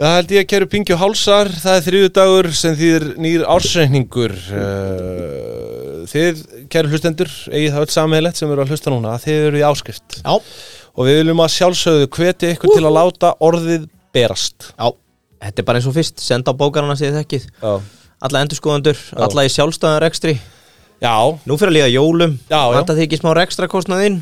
Það held ég að kæru Pingi og Hálsar, það er þriðu dagur sem þýðir nýr ársreikningur. Eh, Þið, kæru hlustendur, eigið það öll sammeðlegt sem eru að hlusta núna, að þið eru í áskrift. Já, Og við viljum að sjálfsögðu hveti ykkur til að láta orðið berast. já, þetta er bara eins og fyrst Senda á bókarana sem þið þekkið Já, Alla endurskoðendur, alla í sjálfstæðan rekstri já, Nú fyrir að líða jólum Já, já. Þetta þykir smá rekstrakostnaðinn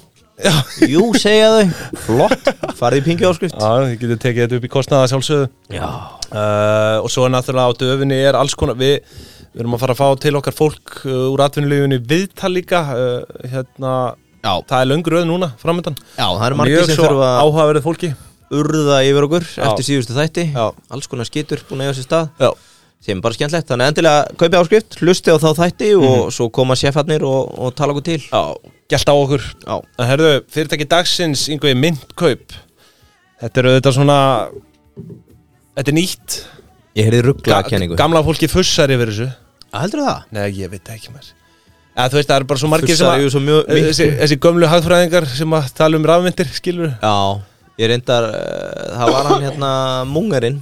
Jú, segja þau Flott, farið í pingi áskrift já þið getur tekið þetta upp í kostnaða sjálfsögðu. Já, Uh, og svo er náttúrulega á döfinni er alls konar við, við erum að fara að fá til okkar fólk uh, úr atvinnulífunni viðtal líka uh, hérna, já, það er löngur öð núna framöndan já það er margir mjög sem svo þurfa að áhugaverið fólki urða yfir okkur eftir síðustu þætti Já. Alls konar skitur búin að eiga sér stað já, sem er bara skemmtlegt, þannig að endilega kaupi áskrift, hlusti á þá þætti Mhm. og svo koma sérfarnir og, og tala okkur til já, gælt á okkur Já, en herðu, fyrirtæki dagsins yngvei myndkaup þetta er auðvitað svona þetta er nýtt ég heyrði rugglaða kenningu gamla fólki fussar yfir þessu Heldur það? Nei, ég veit það ekki maður Eða, þú veist, það eru bara svo margir Fussar sem yfir svo mjög- að Eh, þessi, þessi gömlu hagfræðingar sem að tala um rafmyndir, skilur Já, ég reyndar uh, Það var hann hérna Mungerinn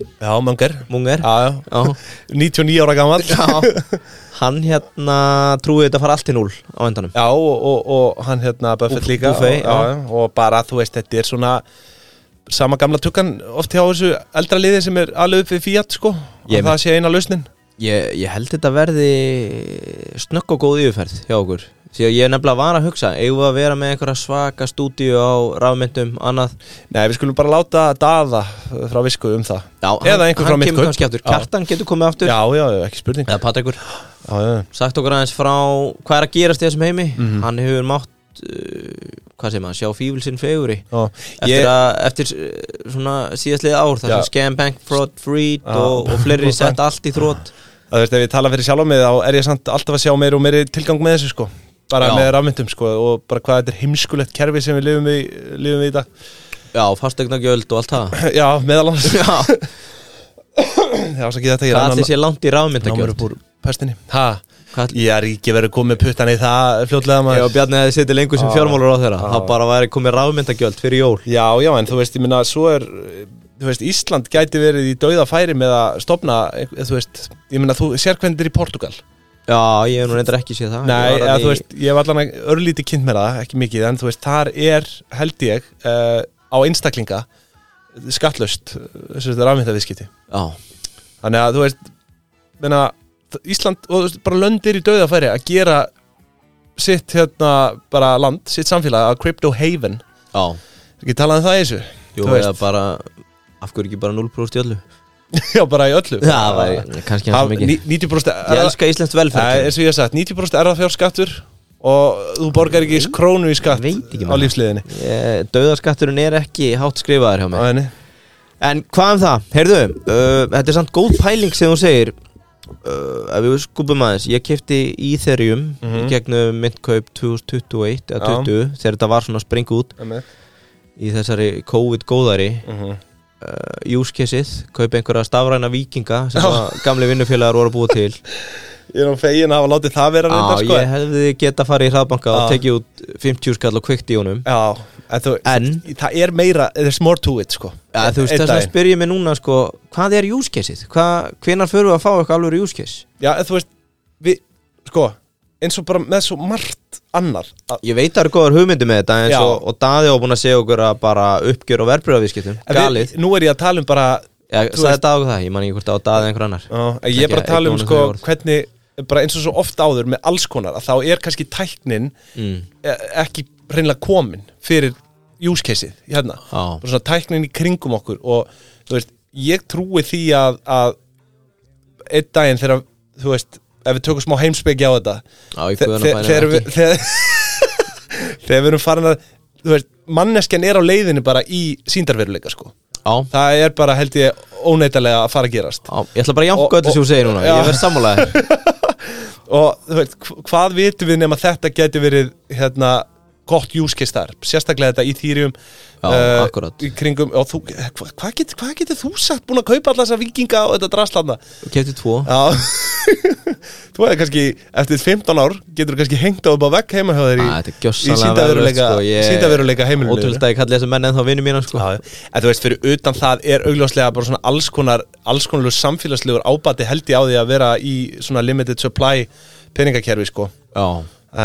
já, mangar Munger Já, já. Já. 99 ára gammal Já Hann hérna trúið þetta að fara allt í núl á endanum Já, og, og, og hann hérna Buffett Buff- líka Buffet, og, já. já, og bara, þú veist, þetta er svona sama gamla tukkan oft hjá þessu eldra liði sem er alveg upp við Fiat sko, Ég að það sé eina lausnin ég, ég held þetta verði snögg og góð yfirferð hjá okkur Því að ég nefnilega var að hugsa Eigum við að vera með einhverja svaka stúdíu á rafmyndum Annað Nei, við skulum bara láta daða frá visku um það Já, Eða einhver frá hann mitt kemur kannski aftur Kjartan getur komið aftur Já, já, ekki spurning Eða Patrikur Já, já, Sagt okkur aðeins frá hvað er að gerast í þessum heimi Hann hefur mátt uh, Hvað segir maður? Sjá fífilsinn feguri já. eftir, Ég, að, eftir eh, svona síðastlið ár þar sem Já. Scam Bank, Fraud, Freed Já. og, og fleiri sett allt í þrótt að, veist, ef ég tala fyrir sjálf á mig þá er ég samt alltaf að sjá meir og meiri tilgang með þessu sko bara Já. með rafmyndum sko og bara hvað þetta er heimskulegt kerfi sem við lifum í, lifum í í dag Já, fastegna og allt það Já, meðal annars Já, Já, svo ekki þetta ég það er allir sé langt í Námur rafmyndagjöld upp úr pestinni Ha? Hvað- Ég er ekki verið komið puttan í það fljótlega Ég og maður Bjarni hefði setið lengur sem Já. fjármálur á þeirra Já. Það bara væri komið rafmyndagjöld fyrir jól Já, já, en þú veist, ég minna, svo er Þú veist, Ísland gæti verið í dauða færi með að stopna, eh, þú veist Ég minna, þú sér hvernig þetta er í Portugal Já, ég hef nú reyndar ekki séð það Nei, Ég var eða hann þú í- veist, ég hef allan örlítið kynnt með það, ekki mikið En þú veist, þar er, held ég, uh, á einstaklinga Skattlaust, eh, þessu þetta rafmyndaviðskipti Já, Þannig að, þú veist, menna, Ísland og þú veist, bara löndir í dauðafæri að gera sitt hérna, bara land, sitt samfélag að crypto haven, já, ekki talað um það í þessu jú, Þú eða veist. bara Af hverju ekki bara 0% í öllu já, bara í öllu Já, það væri kannski hans Það- mikið ní- 90% Ég elska íslenskt Það er velferð eins og ég hef sagt, 90% er það fjárskattur og þú borgar ekki krónu í skatt Veit ekki, á maður. lífsliðinni Dauðaskatturinn er ekki hátt skrifaður hjá mér Á henni. En hvað um það? Heyrðu, uh, þetta er samt góð pæling sem þú segir uh, Ef við skupum aðeins Ég kefti Ethereum í gegnum myndkaup 2021 eða Mhm. Já. 20 þegar þetta var svona að springa út í þessari COVID-góðari Mhm. uh, use case-ið kaupa einhverja stafræna vikinga sem að gamli vinnufélagar voru að búa til Ég er á fegin að hafa látið það vera Já, reyndar sko ég hefði geta farið í hraðbanka og Já. tekið út 50 skall og kvikt í honum Já, en þú, En, það er meira, there's more to it sko ja, þú veist, Einn þess að daginn. spyrja mig núna sko, hvað er use case-ið? Hva- Hvenær förum við að fá eitthvað alveg use case? Já, en þú veist, við, sko, eins og bara með svo margt annar að, Ég veit að það eru góðar hugmyndir með þetta eins Já. og, og Daði á búin að segja okkur að bara uppgjör og verbröðavískiptum, en galið Nú er ég að tala um bara, Ég þú sagði veist- þetta á það, ég man ekki hvort það á Daði eða einhver annar á, ég er Ekki bara að tala um eignarlega sko þau orð. hvernig, bara eins og svo oft áður með alls konar að þá er kannski tæknin mm. e- ekki reynlega komin fyrir use case-ið hérna Já. Bara svona tæknin í kringum okkur og þú veist, ég trúi því að, að einn daginn þegar, þú veist, ef við tökum smá heimspeki á þetta Já, ég Þe- guðan að þe- bæna þegar ekki við- þegar þegar við erum farin að þú veist, manneskjan er á leiðinu bara í síndarveruleika sko Já, það er bara held ég óneitarlega að fara að gerast já, ég ætla bara að Og- jánka öllu sem og- þú segir núna, Já. ég verð sammálaðið og þú veist, hv- hvað vitum við nema þetta geti verið hérna gott use case þar sérstaklega þetta Ethereum Já, eh, akkúrat. í kringum, og þú, eh, hva, hvað get, hva getur þú sagt búin að kaupa allar þessa vikinga og þetta drastlanda Kefti tvo Já Þú hefði kannski, eftir 15 ár getur þú kannski hengt á upp á vegg heima hjá þér í, Æ, þetta er sko, í gjössalega síndaveruleika síndaveruleika heimilinu Ótrúlega að ég kalli þessu menn en þá vinnu mína sko Já, en þú veist, fyrir utan það er augljóslega bara svona alls konar, alls konarlegur samfélagslegur ábati held ég á því að vera í svona limited supply peningakerfi, sko. Já,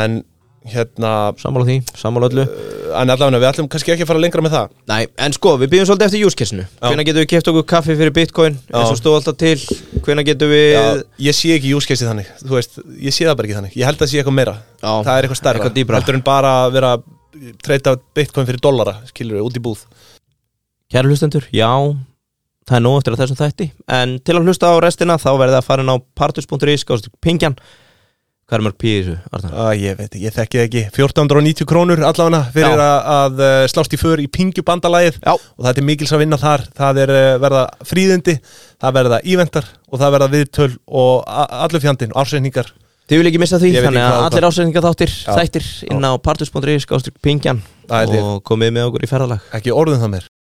En hérna, sammála því, sammála öllu en allavega, við ætlum kannski ekki að fara lengra með það. Nei, en sko, við býðum svolítið eftir júskessinu Hvenær getum við keft okkur kaffi fyrir bitcoin eins og stóð alltaf til Hvenær getum við Já, ég sé ekki júskeisið þannig, þú veist, ég sé það bara ekki þannig. Ég held að það sé eitthvað meira. Já, það er eitthvað starra. eitthvað dýpra. Heldur en bara að vera að treyta bitcoin fyrir dollara, skilur við, út í búð. Kæra hlustendur, já Það er nóg eftir að þessum þætti En til að hlusta á restina þá verðið að fara inn á partus.is Gáðstu pingjan Hvað er mörg pí í þessu, Arnar? Æ, ég veit ekki, ég þekki það ekki. 1490 krónur allavega fyrir Já. að, að eh, slást í för í pingjubandalagið. Já, og það er mikils að vinna þar það er eh, verða fríðindi, það verða íventar og það verða viðtöl og a- allur fjandinn, ársreiningar þið vil ekki missa því Ég veit ekki Þannig að hvað- allir ásendingar þáttir, Já. þættir inn á partus.is Gáðstu pingjan Það er til. Og komið með okkur í ferðalag ekki orðum það mér